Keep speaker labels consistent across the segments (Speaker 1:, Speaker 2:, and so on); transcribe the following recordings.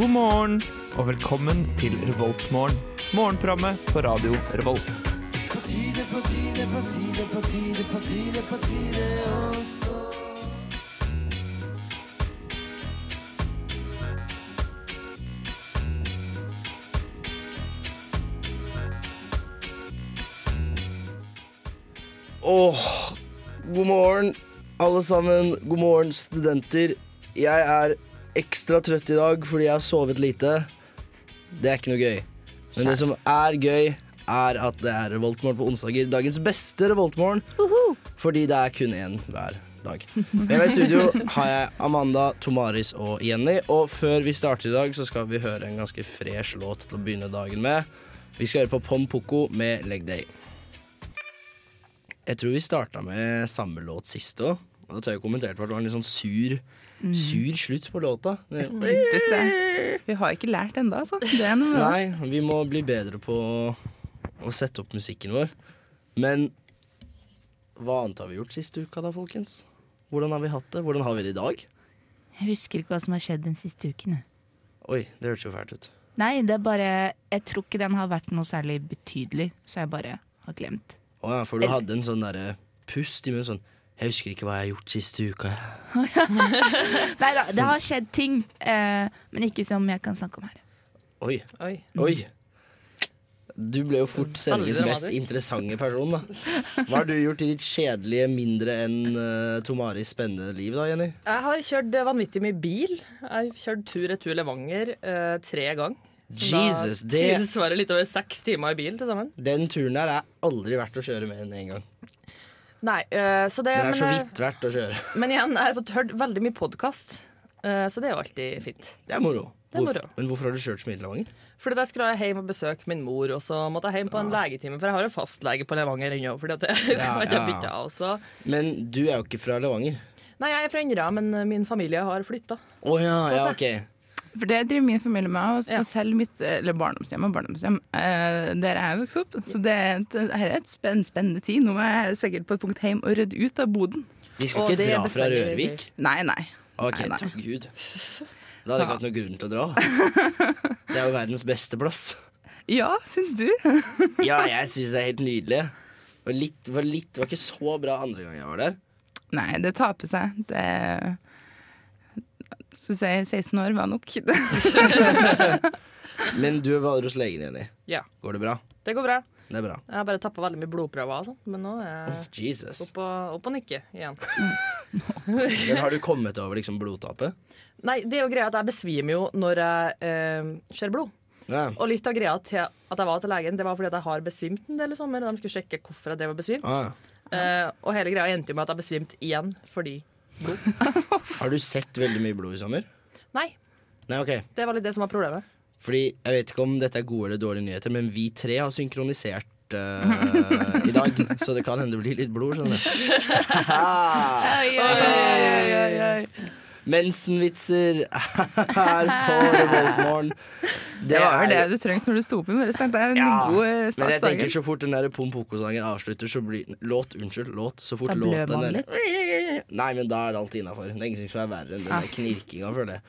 Speaker 1: God morgen og velkommen til Revoltmorgen. Morgenprogrammet på radio Revolt.
Speaker 2: Åh, god morgen alle sammen. God morgen, studenter. Jeg er ekstra trøtt i dag fordi jeg har sovet lite. Det er ikke noe gøy. Men det som er gøy, er at det er Revoltmorgen på onsdager. Dagens beste Revoltmorgen. Fordi det er kun én hver dag. Med meg i studio har jeg Amanda, Tomaris og Jenny. Og før vi starter i dag, så skal vi høre en ganske fresh låt til å begynne dagen med. Vi skal høre på Pom Poko med Leg Day. Jeg tror vi starta med samme låt sist òg. Og da tør jeg kommenterte på at det var en litt sånn sur, sur slutt på låta. Det-
Speaker 3: Typisk det. Vi har ikke lært ennå, altså. Det er noe med det.
Speaker 2: Nei, vi må bli bedre på å, å sette opp musikken vår. Men hva annet har vi gjort siste uka da, folkens? Hvordan har vi hatt det? Hvordan har vi det i dag?
Speaker 4: Jeg husker ikke hva som har skjedd den siste uken. jeg.
Speaker 2: Oi, det hørtes jo fælt ut.
Speaker 4: Nei, det er bare Jeg tror ikke den har vært noe særlig betydelig, så jeg bare har glemt.
Speaker 2: Å ja, for du hadde en sånn derre pust i munnen sånn Jeg husker ikke hva jeg har gjort siste uka. jeg».
Speaker 4: Nei da, det har skjedd ting, eh, men ikke som jeg kan snakke om her.
Speaker 2: Oi.
Speaker 5: Oi.
Speaker 2: Oi. Du ble jo fort sendingens
Speaker 5: Veldig
Speaker 2: mest
Speaker 5: dramatisk.
Speaker 2: interessante person, da. Hva har du gjort i ditt kjedelige, mindre enn uh, Tomaris spennende liv, da, Jenny?
Speaker 5: Jeg har kjørt eh, vanvittig mye bil. Jeg har kjørt tur-retur Levanger eh, tre ganger.
Speaker 2: Jesus,
Speaker 5: da
Speaker 2: det,
Speaker 5: Tilsvarer litt over seks timer i bil til sammen.
Speaker 2: Den turen her er aldri verdt å kjøre mer enn én gang.
Speaker 5: Nei, eh, så det,
Speaker 2: Den er
Speaker 5: men,
Speaker 2: så
Speaker 5: eh,
Speaker 2: vidt verdt å kjøre.
Speaker 5: men igjen, jeg har fått hørt veldig mye podkast, så det er jo alltid fint.
Speaker 2: Det er moro.
Speaker 5: Det er moro.
Speaker 2: Hvorfor- Men hvorfor har du kjørt så mye til Levanger?
Speaker 5: Fordi da skulle jeg hjem og besøke min mor, og så måtte jeg hjem på en legetime, for jeg har jo fastlege på Levanger ennå. Fordi at jeg
Speaker 2: Ja,
Speaker 5: kan ikke
Speaker 2: ja.
Speaker 5: bytte av. Så.
Speaker 2: Men du er jo ikke fra Levanger.
Speaker 5: Nei, jeg er fra Inderøy, men eh, min familie har flytta.
Speaker 2: Å ja,
Speaker 5: Altså-
Speaker 2: ja, ok.
Speaker 3: For det driver min familie med, og
Speaker 5: Ja.
Speaker 3: selv mitt eller barndomshjem og barndomshjem. eh, Der jeg vokste opp. Så det er et, det her er et spenn, spennende tid. Nå må jeg sikkert på et punkt hjem og rydde ut av boden.
Speaker 2: De skal
Speaker 5: Å,
Speaker 2: ikke
Speaker 5: det
Speaker 2: dra fra
Speaker 5: bestemmer vi.
Speaker 2: Rørvik?
Speaker 3: Nei, nei.
Speaker 2: Ok,
Speaker 3: Nei, nei.
Speaker 2: takk Gud. Da hadde jeg ikke hatt noen grunn til å dra. Det er jo verdens beste plass.
Speaker 3: Ja, syns du?
Speaker 2: Ja, jeg syns det er helt nydelig. Det var, litt, var, litt, var ikke så bra andre gang jeg var der.
Speaker 3: Nei, det taper seg. Det Skulle jeg si 16 år var nok.
Speaker 2: Men du var hos legen, Jenny.
Speaker 5: Ja,
Speaker 2: Går det bra?
Speaker 5: det går bra.
Speaker 2: Det er bra.
Speaker 5: Jeg har bare tappa veldig mye blodprøver og sånn, men nå er jeg
Speaker 2: Jesus.
Speaker 5: opp og, opp og nikke igjen.
Speaker 2: Men har du kommet over liksom blodtapet?
Speaker 5: Nei, det er jo greia at jeg besvimer jo når jeg eh, ser blod.
Speaker 2: Ja.
Speaker 5: Og litt av greia til at jeg var til legen, det var fordi at jeg har besvimt en del i sommer. og De skulle sjekke hvorfor jeg drev og besvimte.
Speaker 2: Ah,
Speaker 5: Eh, og hele greia endte jo med at jeg besvimte igjen fordi
Speaker 2: har du sett veldig mye blod i sommer?
Speaker 5: Nei,
Speaker 2: Nei, ok.
Speaker 5: det var litt det som var problemet.
Speaker 2: Fordi jeg vet ikke om dette er gode eller dårlige nyheter, men vi tre har synkronisert eh, i dag. Så det kan hende det blir litt blod. skjønner du. Mensenvitser her på Revoltmorgen.
Speaker 3: Det var vel det du trengte når du sto opp i morges. tenkte jeg. En
Speaker 2: Ja,
Speaker 3: god eh,
Speaker 2: Men jeg
Speaker 3: start på dagen.
Speaker 2: tenker så fort den der Pompoko-sangen avslutter, så blir Låt, unnskyld. Låt. Så fort
Speaker 4: Da blør
Speaker 2: låten
Speaker 4: man
Speaker 2: der- Nei, men da er det alt innafor. Det er ingenting som er verre enn den
Speaker 3: Ah.
Speaker 2: der knirkinga, føler jeg.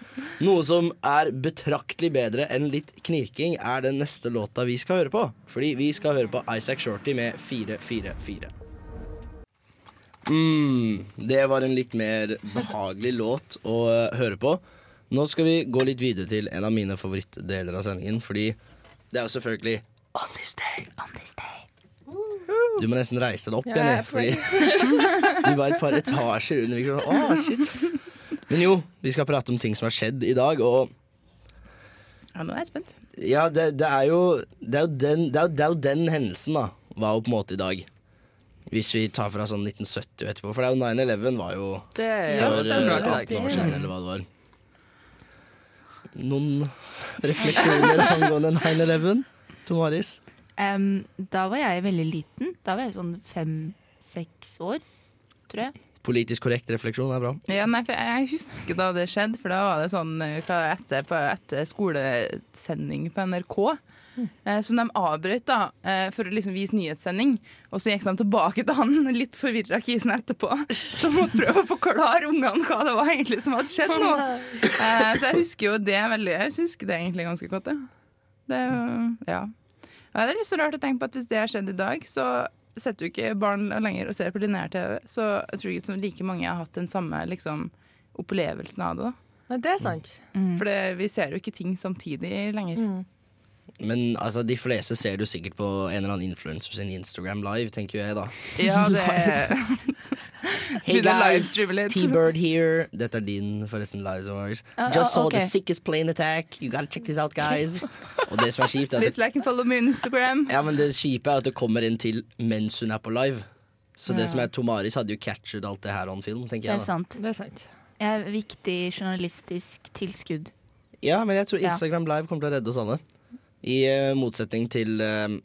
Speaker 2: Noe som er betraktelig bedre enn litt knirking, er den neste låta vi skal høre på. Fordi vi skal høre på Isaac Shorty med 444. Mm, det var en litt mer behagelig låt å eh, høre på. Nå skal vi gå litt videre til en av mine favorittdeler av sendingen, fordi det er jo selvfølgelig On this day. Du må nesten reise deg opp igjen, jeg, fordi du var et par etasjer under mikrofonen. Å, shit. Men jo, vi skal prate om ting som har skjedd i dag, og
Speaker 3: Ja, nå er jeg spent.
Speaker 2: ja, det, det er jo det er jo, den, det, er jo, det er jo den hendelsen, da, var jo på en måte i dag. Hvis vi tar fra sånn 1970 og etterpå, for det er jo 9-11 var jo for
Speaker 5: Det er
Speaker 2: eh,
Speaker 5: jo klart i
Speaker 2: 18
Speaker 5: dag.
Speaker 2: år siden, eller hva det var. Noen refleksjoner angående 9-11? Tom Aris?
Speaker 4: Em, da var jeg veldig liten. Da var jeg sånn fem-seks år, tror jeg.
Speaker 2: Politisk korrekt refleksjon er bra.
Speaker 3: Ja, nei, for jeg husker da det skjedde, for da var det sånn eh, hva var det, etter, på, etter skolesending på NRK. eh, Som de avbrøt da, eh, for å liksom vise nyhetssending. Og så gikk de tilbake til han litt forvirra kisen etterpå, som måtte prøve å forklare ungene hva det var egentlig som hadde skjedd nå. Eh, Så jeg husker jo det veldig Jeg husker det egentlig ganske godt, ja. Det, er jo- ja. Ja, det er litt så rart å tenke på at hvis det har skjedd i dag, så setter du ikke barn lenger og ser på lineær-TV. Så jeg tror ikke like mange har hatt den samme liksom, opplevelsen av det. da.
Speaker 5: Nei, det er sant.
Speaker 3: For det, vi ser jo ikke ting samtidig lenger.
Speaker 2: Men altså, de fleste ser du sikkert på en eller annen influencer sin Instagram live, tenker jeg da.
Speaker 3: Ja, det
Speaker 2: Hey
Speaker 3: Begynner å
Speaker 2: guys,
Speaker 3: livestreame litt.
Speaker 2: T-Bird here. Dette er din, forresten, Lives of Ours.
Speaker 4: Ah,
Speaker 2: Just
Speaker 4: ah,
Speaker 2: saw
Speaker 4: ok.
Speaker 2: the sickest plane attack. You gotta check this out, guys. Og det som er kjipt, er at
Speaker 3: Please like and follow me on Instagram.
Speaker 2: Ja, men det kjipe er at det kommer inn til mens hun er på live. Så det som er Tomaris, hadde jo captured alt det her on film, tenker
Speaker 4: Det er
Speaker 2: jeg. da
Speaker 4: sant.
Speaker 5: Det er sant.
Speaker 4: Jeg er viktig journalistisk tilskudd.
Speaker 2: Ja, men jeg tror
Speaker 4: Ja.
Speaker 2: Instagram Live kommer til å redde oss alle. I eh, motsetning til eh,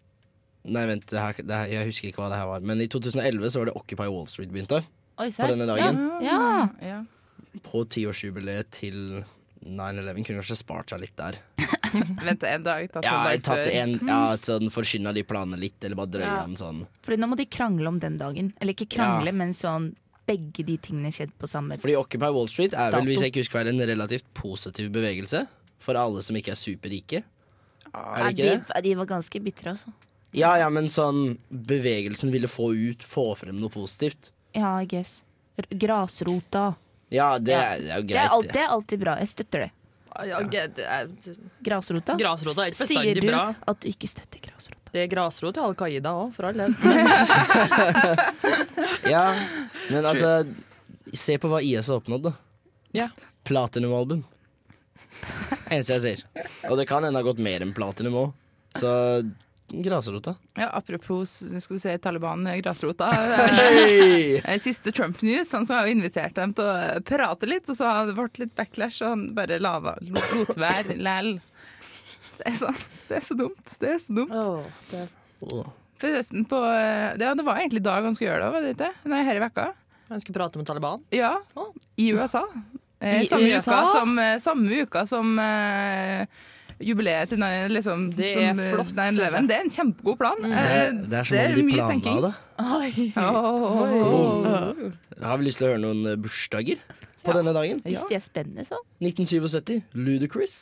Speaker 2: Nei, vent, det her, det her, jeg husker ikke hva det her var. Men i 2011 så var det Occupy Wall Street begynte.
Speaker 4: Oi,
Speaker 2: På denne dagen.
Speaker 4: Ja.
Speaker 3: Ja.
Speaker 2: På tiårsjubileet til 9-11. Kunne kanskje spart seg litt der.
Speaker 3: Vent en dag, tatt
Speaker 2: Ja,
Speaker 3: en dag
Speaker 2: tatt
Speaker 3: før.
Speaker 4: Mm.
Speaker 2: en, ja sånn, Forskynda de planene litt, eller bare drøya
Speaker 5: Ja.
Speaker 2: den sånn.
Speaker 4: Fordi nå må de krangle om den dagen. Eller ikke krangle, men sånn begge de tingene skjedde på samme
Speaker 2: Fordi Occupy Wall Street er vel,
Speaker 4: Dato.
Speaker 2: hvis jeg ikke husker feil, en relativt positiv bevegelse. For alle som ikke er superrike. Er det ikke
Speaker 4: Ah. Ja,
Speaker 2: det?
Speaker 4: de, de var ganske bitre, altså.
Speaker 2: Ja, ja, men sånn Bevegelsen ville få ut, få frem noe positivt.
Speaker 4: Ja, I guess. R grasrota.
Speaker 2: Ja, det,
Speaker 4: Ja.
Speaker 2: Er, det er jo
Speaker 4: Det er,
Speaker 2: greit.
Speaker 4: alt, det er alltid bra. Jeg støtter det.
Speaker 5: Ja, det er,
Speaker 4: Grasrota.
Speaker 5: Grasrota er ikke
Speaker 4: S-
Speaker 5: bestandig
Speaker 4: Sier du
Speaker 5: bra.
Speaker 4: at du ikke støtter grasrota?
Speaker 5: det er grasrot i Al Qaida òg, for all del.
Speaker 2: Ja, men altså Se på hva IS har oppnådd, da.
Speaker 5: Ja.
Speaker 2: Platinum-album. Eneste jeg sier. Og det kan hende ha gått mer enn platinum òg. Så grasrota.
Speaker 3: Ja, apropos skulle du si, Taliban, grasrota.
Speaker 2: Hey!
Speaker 3: Eh, Siste Trump News, han som har jo invitert dem til å prate litt, og så har det vært litt backlash, og han bare lava, lot være læl. Det er, sånn, det er så dumt. Det er så dumt.
Speaker 2: Åh.
Speaker 3: Forresten, på eh, Ja, det var egentlig da han skulle gjøre det, var det ikke? Nei, her i vekka.
Speaker 5: Jeg ønsker å prate med Taliban.
Speaker 3: Ja,
Speaker 5: Å.
Speaker 3: i USA. Eh,
Speaker 5: I
Speaker 3: samme,
Speaker 5: USA?
Speaker 3: Uka som, eh, samme uka som eh, jubileet til nei, liksom,
Speaker 5: Det
Speaker 3: som,
Speaker 5: er
Speaker 3: eh,
Speaker 5: flott,
Speaker 3: 9/11.
Speaker 5: synes jeg. Mm.
Speaker 3: Det er en kjempegod plan.
Speaker 2: Det,
Speaker 3: Eh,
Speaker 2: er- det er som om de
Speaker 3: mye
Speaker 2: planla
Speaker 3: tenking.
Speaker 2: det. Har vi lyst til å høre noen eh, bursdager på denne dagen?
Speaker 4: Hvis de er spennende, så.
Speaker 2: 1977. Ludacris.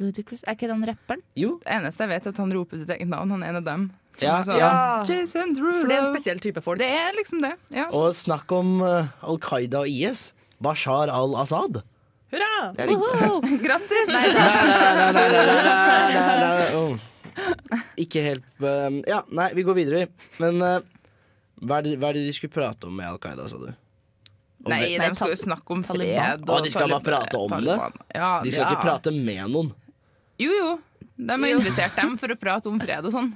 Speaker 4: Ludacris. Er ikke den rapperen?
Speaker 2: Jo.
Speaker 3: Det eneste jeg vet, er at han roper sitt eget navn. Han er en av dem. Som
Speaker 2: Ja,
Speaker 3: er sånn,
Speaker 2: ja.
Speaker 3: Jason Derulo.
Speaker 5: For det er en spesiell type folk.
Speaker 3: Det er liksom det. Ja.
Speaker 2: Og snakk om eh, Al Qaida og IS. Bashar al-Assad.
Speaker 5: Hurra!
Speaker 2: Det er ikke
Speaker 3: Grattis!
Speaker 2: Åh. Ikke helt eh, Ja, nei, vi går videre, vi. Men eh, hva, er det, hva er det de skulle prate om med Al Qaida, sa du? Om
Speaker 3: Nei,
Speaker 2: det-
Speaker 3: de skal jo snakke om fred.
Speaker 4: Taliban.
Speaker 3: og
Speaker 2: Å, de skal bare
Speaker 3: Taliban-
Speaker 2: prate om det?
Speaker 3: Taliban. Ja,
Speaker 2: De skal
Speaker 3: ja.
Speaker 2: ikke prate med noen.
Speaker 3: Jo, jo. De har invitert dem for å prate om fred og sånn.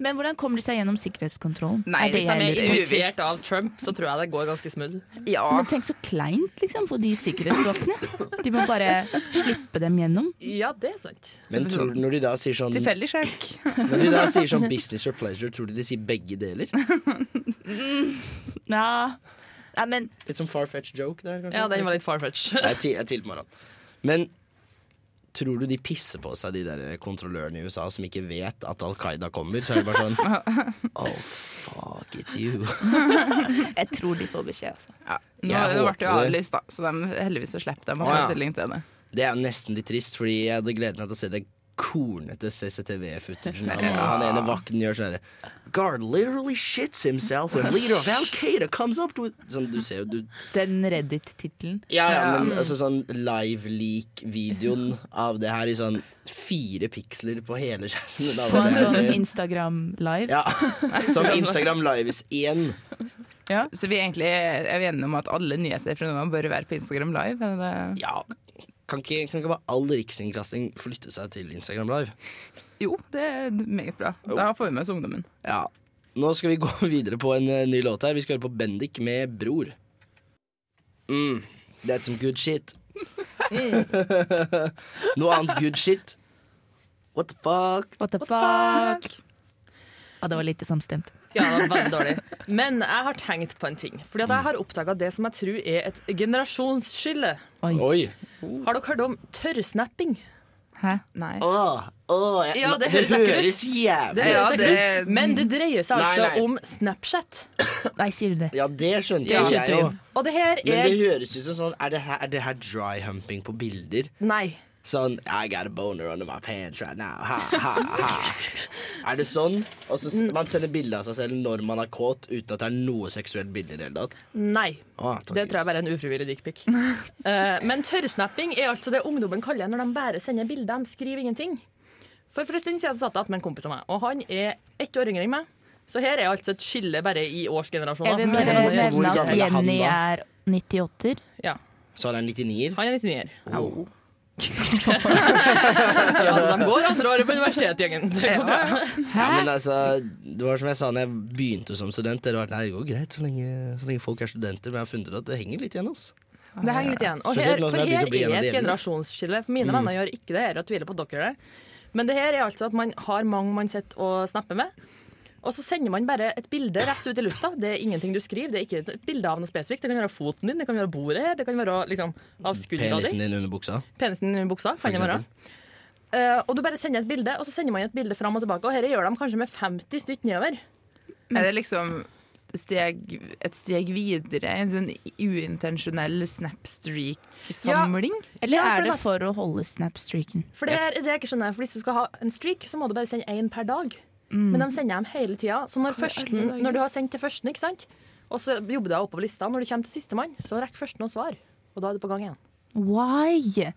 Speaker 4: Men hvordan kommer de seg gjennom sikkerhetskontrollen?
Speaker 3: Nei,
Speaker 4: er det
Speaker 3: hvis
Speaker 5: De
Speaker 4: jeg
Speaker 5: er
Speaker 4: lurer på?
Speaker 3: utvist.
Speaker 5: motivert av Trump, så tror jeg det går ganske smooth.
Speaker 3: Ja.
Speaker 4: Men tenk så kleint liksom, for de sikkerhetsvaktene. De må bare slippe dem gjennom.
Speaker 5: Ja, det er sant.
Speaker 2: Men tror du når de da sier sånn Når
Speaker 3: Tilfeldig sjekk.
Speaker 2: de da sier sånn business or pleasure, tror du de sier begge deler?
Speaker 4: Ja. Nei, men
Speaker 2: Litt sånn far-fetched joke der, kanskje?
Speaker 5: Ja, den var litt far-fetch.
Speaker 2: Jeg til- jeg tilter meg Men tror du de pisser på seg, de der kontrollørene i USA som ikke vet at Al Qaida kommer? Så er det bare sånn Oh, fuck it you.
Speaker 4: jeg tror de får beskjed, altså.
Speaker 3: Ja.
Speaker 2: Jeg
Speaker 3: Nå det ble det jo
Speaker 2: håper det.
Speaker 3: avlyst, da, så de heldigvis så slipper de
Speaker 2: Å,
Speaker 3: å ta
Speaker 2: ja.
Speaker 3: stilling til det.
Speaker 2: Det er jo nesten litt trist, fordi jeg hadde gledet meg til å se det kornete CCTV-footagen. av Han ene vakten gjør sånn herre Guard literally shits himself when leader of Al Qaida comes up with Sånn, du ser jo du
Speaker 4: Den Reddit-tittelen.
Speaker 2: Ja, ja, men altså sånn live-leak-videoen av det her i sånn fire piksler på hele skjermen. da,
Speaker 4: På en
Speaker 2: det er-
Speaker 4: sånn Instagram live.
Speaker 2: Ja, som Instagram Lives 1.
Speaker 3: Så vi egentlig er vi enige om at alle nyheter fra nå av bør være på Instagram Live? Er det?
Speaker 2: Ja, kan ikke, kan ikke bare all rikskringkasting flytte seg til Instagram Live?
Speaker 3: Jo, det er meget bra. Da får vi med oss ungdommen.
Speaker 2: Ja. Nå skal vi gå videre på en eh, ny låt her. Vi skal høre på Bendik med Bror. Mm, that's some good shit. Noe annet good shit? What the fuck?
Speaker 4: What the fuck? Ja, det var lite samstemt.
Speaker 5: Ja, det var veldig dårlig. Men jeg har tenkt på en ting. Fordi at jeg har oppdaga det som jeg tror er et generasjonsskille.
Speaker 4: Oi.
Speaker 2: Oi.
Speaker 5: Har dere hørt om tørrsnapping?
Speaker 4: Hæ?
Speaker 3: Nei.
Speaker 2: Åh, åh, jeg-
Speaker 5: Ja, det høres ekkelt ut.
Speaker 2: jævlig
Speaker 5: Det
Speaker 3: Ja,
Speaker 5: høres ikke
Speaker 3: det-
Speaker 5: ut, men det dreier seg
Speaker 2: Nei,
Speaker 5: altså
Speaker 2: nei.
Speaker 5: om Snapchat.
Speaker 4: Nei, sier du det?
Speaker 2: Ja, det skjønte
Speaker 5: Ja.
Speaker 2: jo jeg jo.
Speaker 5: Og det her
Speaker 2: Men
Speaker 5: er
Speaker 2: det høres ut som sånn Er det her, er det her dry humping på bilder?
Speaker 5: Nei.
Speaker 2: Sånn I got a boner under my pants right now. Ha, ha, ha. Er det sånn? Og så s- Man sender bilde av seg selv når man er kåt, uten at det er noe seksuelt bilde i det hele tatt.
Speaker 5: Nei.
Speaker 2: Å, takk
Speaker 5: Det
Speaker 2: Gud.
Speaker 5: tror jeg bare er en ufrivillig dickpic. Eh, men tørrsnapping er altså det ungdommen kaller når de bare sender bilder. De skriver ingenting. For for en stund siden så satt jeg med en kompis av meg, og han er ett år yngre enn meg. Så her er altså et skille bare i årsgenerasjoner.
Speaker 4: Jeg vil
Speaker 5: Men-
Speaker 4: bare
Speaker 2: Hvor
Speaker 4: nevne at
Speaker 2: gammel er han
Speaker 4: Jenny
Speaker 2: da?
Speaker 4: er 98-er.
Speaker 5: Ja,
Speaker 2: Så han er 99-er?
Speaker 5: han er 99-er. Ja, de går andre året på universitetsgjengen. Det går bra.
Speaker 2: Ja, men altså, det var som jeg sa når jeg begynte som student. Det, var, nei, det går greit så lenge, så lenge folk er studenter, men jeg har funnet ut at det henger litt igjen. ass.
Speaker 5: Det henger litt igjen. Og
Speaker 2: Spesielt
Speaker 5: her,
Speaker 2: nå som
Speaker 5: for
Speaker 2: jeg
Speaker 5: her
Speaker 2: begynte å bli en
Speaker 5: er
Speaker 2: av Mm.
Speaker 5: et
Speaker 2: de eldre.
Speaker 5: generasjonsskille. For mine venner gjør ikke det her, og tviler på at dere gjør det. Men det her er altså at man har mange man sitter og snapper med. Og så sender man bare et bilde rett ut i lufta. Det er ingenting du skriver. Det er ikke et bilde av noe spesifikt. Det kan være foten din, det kan være bordet her, det kan være liksom, av skuldra di.
Speaker 2: Penisen din under buksa.
Speaker 5: Penisen i buksa.
Speaker 2: For
Speaker 5: Kan det være.
Speaker 2: eksempel.
Speaker 5: Eh, og du bare sender et bilde, og så sender man et bilde fram og tilbake. Og dette gjør de kanskje med 50 stykk nedover.
Speaker 3: Er det liksom steg, et steg videre? En sånn uintensjonell snapstreak-samling?
Speaker 4: Eller
Speaker 5: Ja, for
Speaker 4: er det
Speaker 5: det-
Speaker 4: for å holde snap-streaken?
Speaker 5: For det her er det jeg ikke skjønner. For hvis du skal ha en streak, så må du bare sende én per dag.
Speaker 2: Mm.
Speaker 5: Men de sender dem hele tida. Så når, førsten, når du har sendt til førsten, ikke sant? og så jobber du deg oppover lista, når du kommer til sistemann, så rekker førsten å svare. Og da er du på gang igjen.
Speaker 4: Why?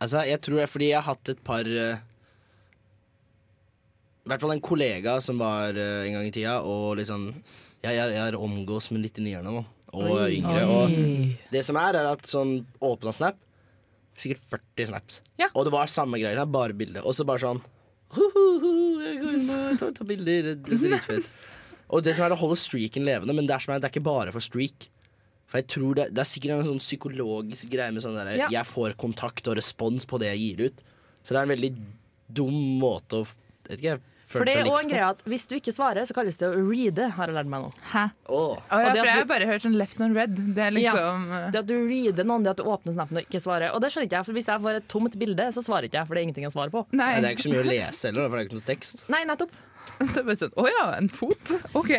Speaker 2: Altså, jeg tror det er fordi jeg har hatt et par eh, I hvert fall en kollega som var eh, en gang i tida, og liksom Jeg, jeg, jeg omgås med litt nierne nå, og
Speaker 5: Oi.
Speaker 2: yngre. Og det som er, er at sånn åpna snap Sikkert 40 snaps.
Speaker 5: Ja.
Speaker 2: Og det var samme greia. det er Bare bilde. Og så bare sånn «Hohoho, Jeg går inn og tar, tar bilder. Det er dritfett. Og det som er å holde streaken levende, men det er, som er, det er ikke bare for streak. For jeg tror det, det er sikkert en sånn psykologisk greie med sånn der
Speaker 5: Ja.
Speaker 2: Jeg får kontakt og respons på det jeg gir ut. Så det er en veldig dum måte å Vet ikke, jeg.
Speaker 5: For det
Speaker 2: føle
Speaker 5: er
Speaker 2: seg
Speaker 5: òg
Speaker 2: likt
Speaker 5: en
Speaker 2: på.
Speaker 5: greie at hvis du ikke svarer, så kalles det å reade, har jeg lært meg nå.
Speaker 4: Hæ?
Speaker 2: Åh.
Speaker 3: Å, ja,
Speaker 5: Og det
Speaker 3: for
Speaker 5: at
Speaker 3: jeg
Speaker 5: du-
Speaker 3: har bare hørt sånn left and red. Det er liksom
Speaker 5: Det at du reader noen, det at du åpner snappen og ikke svarer. Og det skjønner ikke jeg, for hvis jeg får et tomt bilde, så svarer ikke jeg, for det er ingenting jeg svarer på.
Speaker 3: Nei.
Speaker 2: Nei, det er ikke så mye å lese heller, for det er ikke noe tekst.
Speaker 5: Nei, nettopp.
Speaker 3: Det er bare sånn Å ja, en fot? OK.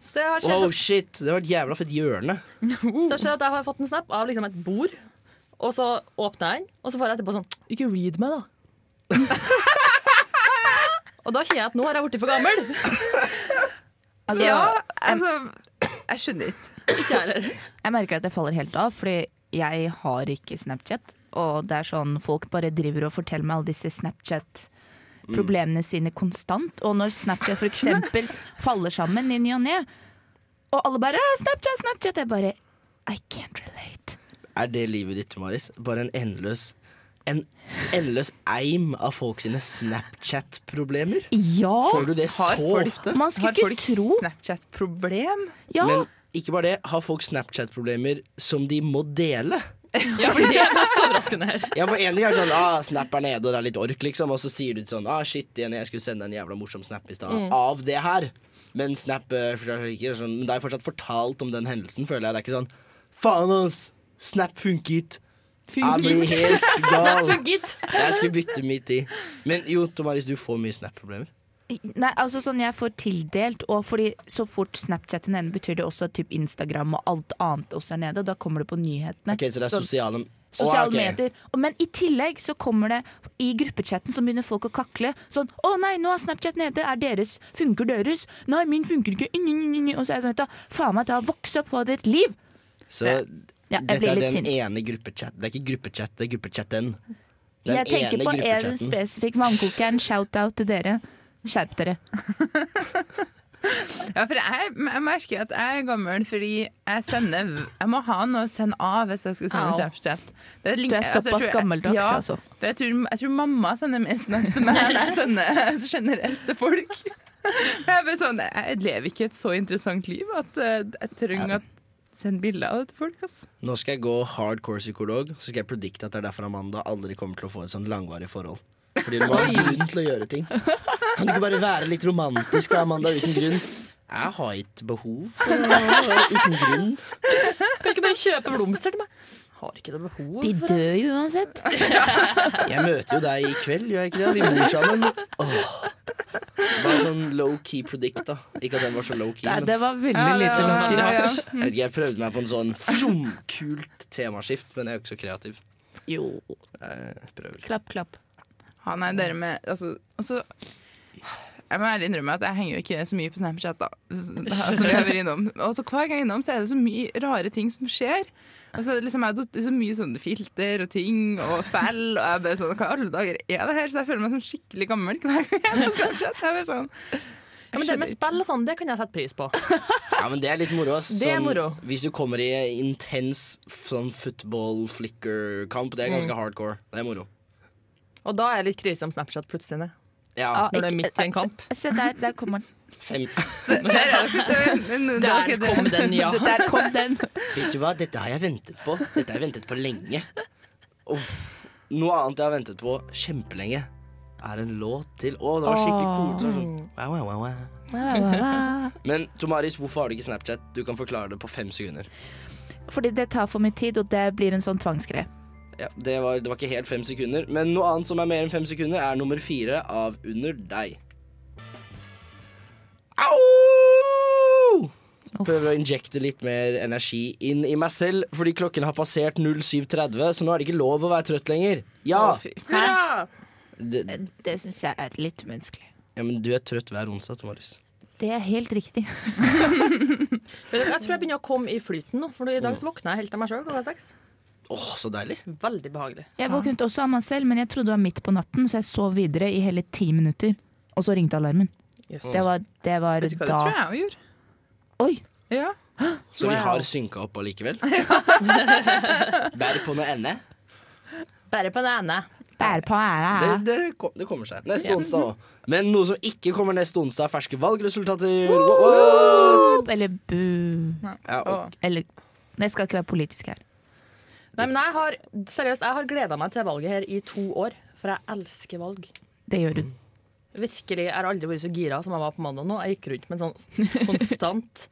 Speaker 5: Så det har skjedd
Speaker 2: Oh shit! Det var et jævla fett hjørne.
Speaker 5: Så det skjer at jeg har fått en snap av liksom et bord, og så åpner jeg den, og så får jeg etterpå sånn Ikke read meg, da. og da kjenner jeg at nå har jeg blitt for gammel.
Speaker 4: Altså,
Speaker 3: Ja, altså Jeg skjønner ikke.
Speaker 5: Ikke jeg heller.
Speaker 4: Jeg merker at jeg faller helt av, fordi jeg har ikke Snapchat. Og det er sånn folk bare driver og forteller meg alle disse Snapchat
Speaker 2: Mm.
Speaker 4: problemene sine konstant. Og når Snapchat f.eks. faller sammen i ny og ne, og alle bare «Ah, 'Snapchat, Snapchat', jeg bare I can't relate.
Speaker 2: Er det livet ditt, Maris? Bare en endeløs En endeløs eim av folk sine Snapchat-problemer? Får
Speaker 4: Ja!
Speaker 2: du det så
Speaker 3: Har folk-
Speaker 2: ofte?
Speaker 4: Man skulle
Speaker 3: Har folk
Speaker 4: ikke tro
Speaker 3: Snapchat-problem?
Speaker 4: Ja!
Speaker 2: Men ikke bare det, har folk Snapchat-problemer som de må dele?
Speaker 5: Ja, for det er mest overraskende her.
Speaker 2: Ja, for en ting er sånn, ah, snap er nede og det er litt ork, liksom. Og så sier du sånn, ah, shit, Jenny, jeg skulle sende en jævla morsom snap i stad av det her. Men snap eh, forstår jeg ikke sånn, Men det er fortsatt fortalt om den hendelsen, føler jeg. Det er ikke sånn, faen ass, snap funket. Jeg blir helt gal.
Speaker 5: Gitt.
Speaker 2: Jeg skulle bytte mitt i. Men jo, Tom Marius, du får mye snap-problemer.
Speaker 4: Nei, altså sånn jeg får tildelt, og fordi så fort Snapchat er nede, betyr det også at typ Instagram og alt annet også er nede, og da kommer det på nyhetene.
Speaker 2: Ok, så det er sosiale Å,
Speaker 4: Sosiale
Speaker 2: ok.
Speaker 4: medier. Og- Men i tillegg så kommer det i gruppechatten så begynner folk å kakle. Sånn 'Å nei, nå er Snapchat nede. Er deres Funker deres?' 'Nei, min funker ikke.' Ny, ny, ny, ny. Og så er jeg sånn vet du, Faen meg, du har vokst opp og hatt et liv.
Speaker 2: Så
Speaker 4: Ja, jeg
Speaker 2: dette
Speaker 4: blir
Speaker 2: er
Speaker 4: litt
Speaker 2: den
Speaker 4: sint.
Speaker 2: ene gruppechat Det er ikke gruppechat, det er gruppechatten. Den
Speaker 4: Jeg tenker
Speaker 2: ene
Speaker 4: på en
Speaker 2: gruppechatten.
Speaker 4: spesifikk vannkokeren. Shout-out til dere. Skjerp dere.
Speaker 3: Ja, for jeg, jeg merker at jeg er gammel fordi jeg sender Jeg må ha noe å sende av hvis jeg skal sende
Speaker 5: Au.
Speaker 3: Snapchat. Det er link-
Speaker 4: Du er
Speaker 3: altså, jeg
Speaker 4: såpass
Speaker 3: tror jeg-
Speaker 4: gammeldags,
Speaker 3: ja,
Speaker 4: altså.
Speaker 3: For jeg tror, jeg tror mamma sender mer snaps til meg enn jeg sender generelt til folk. Jeg, er bare sånn, jeg lever ikke et så interessant liv at eh, jeg trenger å sende bilder av det til folk. Ass.
Speaker 2: Nå skal jeg gå hardcore psykolog, så skal jeg predikte at det er derfor Amanda aldri kommer til å få et sånn langvarig forhold. Fordi hun har grunn til å gjøre ting. Kan du ikke bare være litt romantisk da, Amanda, uten grunn? Jeg har ikke behov for det, uten grunn.
Speaker 5: Kan ikke bare kjøpe blomster til meg? Har ikke noe behov
Speaker 4: De
Speaker 5: for det.
Speaker 4: dør jo uansett.
Speaker 2: Jeg møter jo deg i kveld, gjør jeg ikke det? Vi bor sammen. Åh. Bare sånn low-key predict, da. Ikke at den var så low-key, men
Speaker 4: det var veldig
Speaker 3: Ja, det
Speaker 4: lite
Speaker 3: var-
Speaker 4: lukker.
Speaker 3: ja, ja.
Speaker 2: jeg, vet ikke, jeg prøvde meg på en sånn fjom, kult temaskift, men jeg er jo ikke så kreativ.
Speaker 4: Jo.
Speaker 2: Jeg prøver.
Speaker 4: Klapp, klapp.
Speaker 3: Ja, nei, dere med altså, altså, Jeg må ærlig innrømme at jeg henger jo ikke så mye på Snapchat, da. Som jeg har vært innom. Og så hver gang jeg er innom, så er det så mye rare ting som skjer. Og så er det liksom jeg, har datt i så mye sånne filter og ting og spill, og jeg bare sånn Hva i alle dager er det her? Så jeg føler meg sånn skikkelig gammel hver gang jeg er på Snapchat. Jeg er bare sånn
Speaker 5: Ja, men det med spill og sånn, det kan jeg sette pris på.
Speaker 2: Ja, men det er litt moro. ass.
Speaker 5: Det er
Speaker 2: Sånn,
Speaker 5: moro.
Speaker 2: Hvis du kommer i intens sånn football flicker-kamp, det er ganske hardcore. Det er moro.
Speaker 5: Og da er det litt krise om Snapchat plutselig.
Speaker 2: Ja.
Speaker 5: Når det er midt i en kamp.
Speaker 4: Se, se der, der kommer den.
Speaker 2: Fem.
Speaker 3: Der, er det- det- det- det-
Speaker 5: Der
Speaker 3: ok, det-
Speaker 5: kom den, ja.
Speaker 4: Der kom den.
Speaker 2: Vet du hva, dette har jeg ventet på. Dette har jeg ventet på lenge. Og noe annet jeg har ventet på kjempelenge, er en låt til. Å, det var skikkelig
Speaker 4: Åh.
Speaker 2: kult. Det var Sånn. Wow, wow, wow, wow.
Speaker 4: Wa, wa, wa.
Speaker 2: Men Tomaris, hvorfor har du ikke Snapchat? Du kan forklare det på fem sekunder.
Speaker 4: Fordi det tar for mye tid, og det blir en sånn tvangsgreie.
Speaker 2: Ja, det, var, det var ikke helt fem sekunder. Men noe annet som er mer enn fem sekunder, er nummer fire av Under deg. Au! Prøver å injekte litt mer energi inn i meg selv, fordi klokken har passert 07.30, så nå er det ikke lov å være trøtt lenger. Ja!
Speaker 3: Å, fy.
Speaker 5: Hurra!
Speaker 2: Det,
Speaker 4: Det syns jeg er litt umenneskelig.
Speaker 2: ja, men du er trøtt hver onsdag, Tomaris.
Speaker 4: Det er helt riktig.
Speaker 5: Men Jeg tror jeg begynner å komme i flyten nå, for i dag så våkna jeg helt av meg sjøl klokka seks.
Speaker 2: Åh, så deilig.
Speaker 5: Veldig behagelig.
Speaker 4: Jeg våknet også av meg selv, men jeg trodde det var midt på natten, så jeg sov videre i hele ti minutter. Og så ringte alarmen.
Speaker 5: Yes.
Speaker 4: Det var, det var
Speaker 3: Vet du hva, det
Speaker 4: da
Speaker 3: tror jeg jeg gjorde.
Speaker 4: Oi!
Speaker 3: Ja.
Speaker 2: Så vi
Speaker 4: Wow.
Speaker 2: har synka opp allikevel. Bær på med ende.
Speaker 5: Bare på den ene.
Speaker 4: Bære på
Speaker 2: Det,
Speaker 4: æra.
Speaker 2: det, kom, det kommer seg. Neste onsdag òg. Men noe som ikke kommer neste onsdag, er ferske valgresultater. What?
Speaker 4: Eller bu
Speaker 2: Ja, og,
Speaker 4: Eller Jeg skal ikke være politisk her.
Speaker 5: Nei, men jeg har, seriøst, jeg har gleda meg til valget her i to år, for jeg elsker valg.
Speaker 4: Det gjør hun.
Speaker 5: Virkelig, Jeg har aldri vært så gira som jeg var på mandag nå. Jeg gikk rundt med en sånn konstant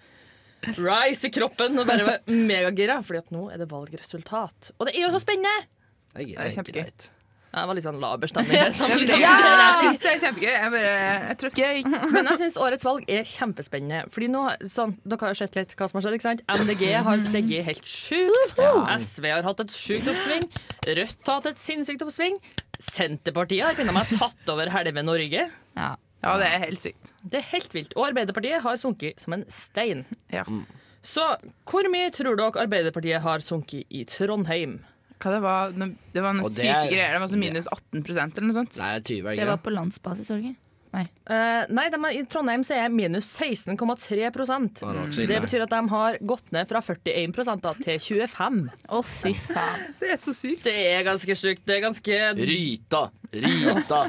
Speaker 5: rise i kroppen og bare var megagira, Fordi at nå er det valgresultat. Og det er jo så spennende!
Speaker 2: det
Speaker 3: Det
Speaker 2: er
Speaker 3: er kjempegøy.
Speaker 2: greit.
Speaker 5: Jeg var litt sånn laber stemning.
Speaker 3: Ja, men det- Jeg syns det er kjempegøy. Jeg bare jeg tror
Speaker 4: Gøy!
Speaker 5: Men jeg syns årets valg er kjempespennende. Fordi nå, sånn, Dere har jo sett litt hva som har skjedd. ikke sant? MDG har steget helt sjukt. SV har hatt et sjukt oppsving. Rødt har hatt et sinnssykt oppsving. Senterpartiet har pinadø meg tatt over halve Norge.
Speaker 4: Ja.
Speaker 3: Ja, det er helt sykt.
Speaker 5: Det er helt vilt. Og Arbeiderpartiet har sunket som en stein.
Speaker 3: Ja.
Speaker 2: Mm.
Speaker 5: Så hvor mye tror dere Arbeiderpartiet har sunket i Trondheim?
Speaker 3: Hva det var Det var noen
Speaker 2: Og det
Speaker 3: syke
Speaker 2: er-
Speaker 3: greier. Det var så minus 18 eller noe sånt.
Speaker 2: Nei, det er 20, er
Speaker 4: Det
Speaker 2: det
Speaker 4: var
Speaker 2: ikke det?
Speaker 4: på landsbasis, var det ikke? Nei.
Speaker 5: Eh, nei, de, er- i Trondheim så er minus 16,3
Speaker 2: Ja, det var ikke så
Speaker 5: Det,
Speaker 2: ille.
Speaker 5: betyr at de har gått ned fra 41 da, til 25
Speaker 4: Å, fy faen.
Speaker 3: Det er så sykt.
Speaker 5: Det er ganske sjukt. Det er ganske
Speaker 2: Ryta, Ryta.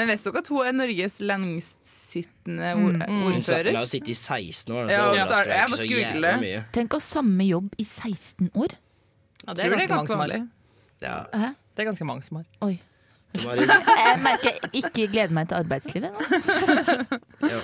Speaker 3: Men visste dere at hun er Norges lengstsittende ord
Speaker 2: Hun satt-
Speaker 3: ordfører?
Speaker 2: la oss sitte i 16 år,
Speaker 3: Ja,
Speaker 2: så
Speaker 3: og så er
Speaker 2: overrasker det
Speaker 3: det- jeg
Speaker 2: ikke
Speaker 3: måtte
Speaker 2: så
Speaker 3: google.
Speaker 2: jævla mye.
Speaker 4: Tenk å ha samme jobb i 16 år.
Speaker 5: ja,
Speaker 3: Tror det er ganske vanlig.
Speaker 2: Ja.
Speaker 4: Hæ?
Speaker 5: Det er ganske mange som har.
Speaker 4: Oi.
Speaker 2: Maris,
Speaker 4: Jeg merker jeg ikke gleder meg til arbeidslivet. nå.
Speaker 2: ja.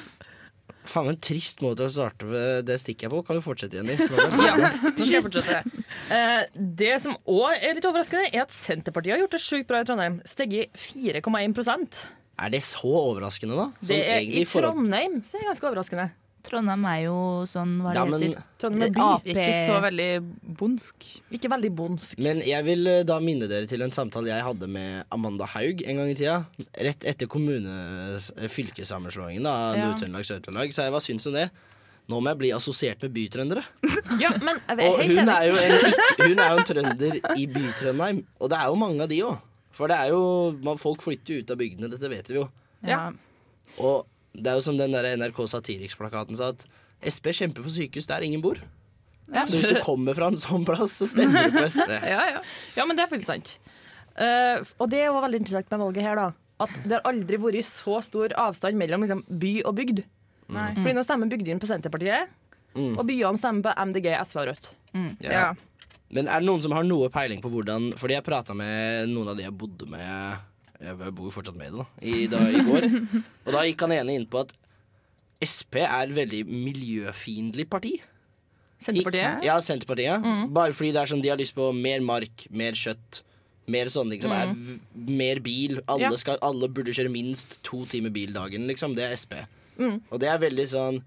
Speaker 2: Faen, en trist måte å starte med det stikket jeg på. Kan du fortsette, Jenny? For nå ble jeg-
Speaker 5: Så skal jeg fortsette. Eh, det som òg er litt overraskende, er at Senterpartiet har gjort det sjukt bra i Trondheim. Steget 4,1
Speaker 2: Er det så overraskende, da? Sånn
Speaker 5: Det er
Speaker 2: egentlig
Speaker 5: i
Speaker 2: i forhold-
Speaker 5: Trondheim, så er det ganske overraskende.
Speaker 4: Trondheim er jo sånn, hva
Speaker 2: Ja,
Speaker 4: det
Speaker 2: men,
Speaker 4: heter
Speaker 5: Trondheim er by.
Speaker 4: Ap.
Speaker 3: Ikke så veldig bondsk.
Speaker 5: Ikke veldig bondsk.
Speaker 2: men jeg vil eh, da minne dere til en samtale jeg hadde med Amanda Haug en gang i tida. Rett etter kommune- eh, fylkessammenslåingen da, av
Speaker 3: Ja.
Speaker 2: Nord-Trøndelag Sør-Trøndelag. Så jeg, hva syns hun det? Nå må jeg bli assosiert med bytrøndere.
Speaker 5: Ja, men jeg er
Speaker 2: Og
Speaker 5: helt
Speaker 2: hun
Speaker 5: enig.
Speaker 2: er jo en, hun er jo en trønder i by-Trøndheim. Og det er jo mange av de òg. For det er jo, man, folk flytter jo ut av bygdene, dette vet vi jo.
Speaker 3: Ja.
Speaker 2: Og det er jo som den der NRK Satiriks-plakaten sa, at SP kjemper for sykehus der ingen bor.
Speaker 3: Ja.
Speaker 2: Så hvis du kommer fra en sånn plass, så stemmer du på SP.
Speaker 3: Ja, ja.
Speaker 5: Ja, men det er fullt sant. Eh, og det var veldig interessant med valget her, da. At det har aldri vært så stor avstand mellom liksom, by og bygd.
Speaker 3: Nei.
Speaker 5: Fordi nå stemmer bygdene på Senterpartiet,
Speaker 2: Mm.
Speaker 5: og byene stemmer på MDG, SV og Rødt.
Speaker 3: ja.
Speaker 2: Men er det noen som har noe peiling på hvordan Fordi jeg prata med noen av de jeg bodde med Jeg bor jo fortsatt med i det, da. I, da, I går. Og da gikk han ene inn på at Sp er et veldig miljøfiendtlig parti.
Speaker 5: Senterpartiet? Mm.
Speaker 2: Ja, Senterpartiet. Bare fordi det er sånn de har lyst på mer mark, mer kjøtt, mer sånne ting som er v- Mer bil. Alle,
Speaker 5: Mm. Ja.
Speaker 2: skal, alle burde kjøre minst to timer bil dagen, liksom. Det er Sp.
Speaker 5: Mm.
Speaker 2: Og det er veldig sånn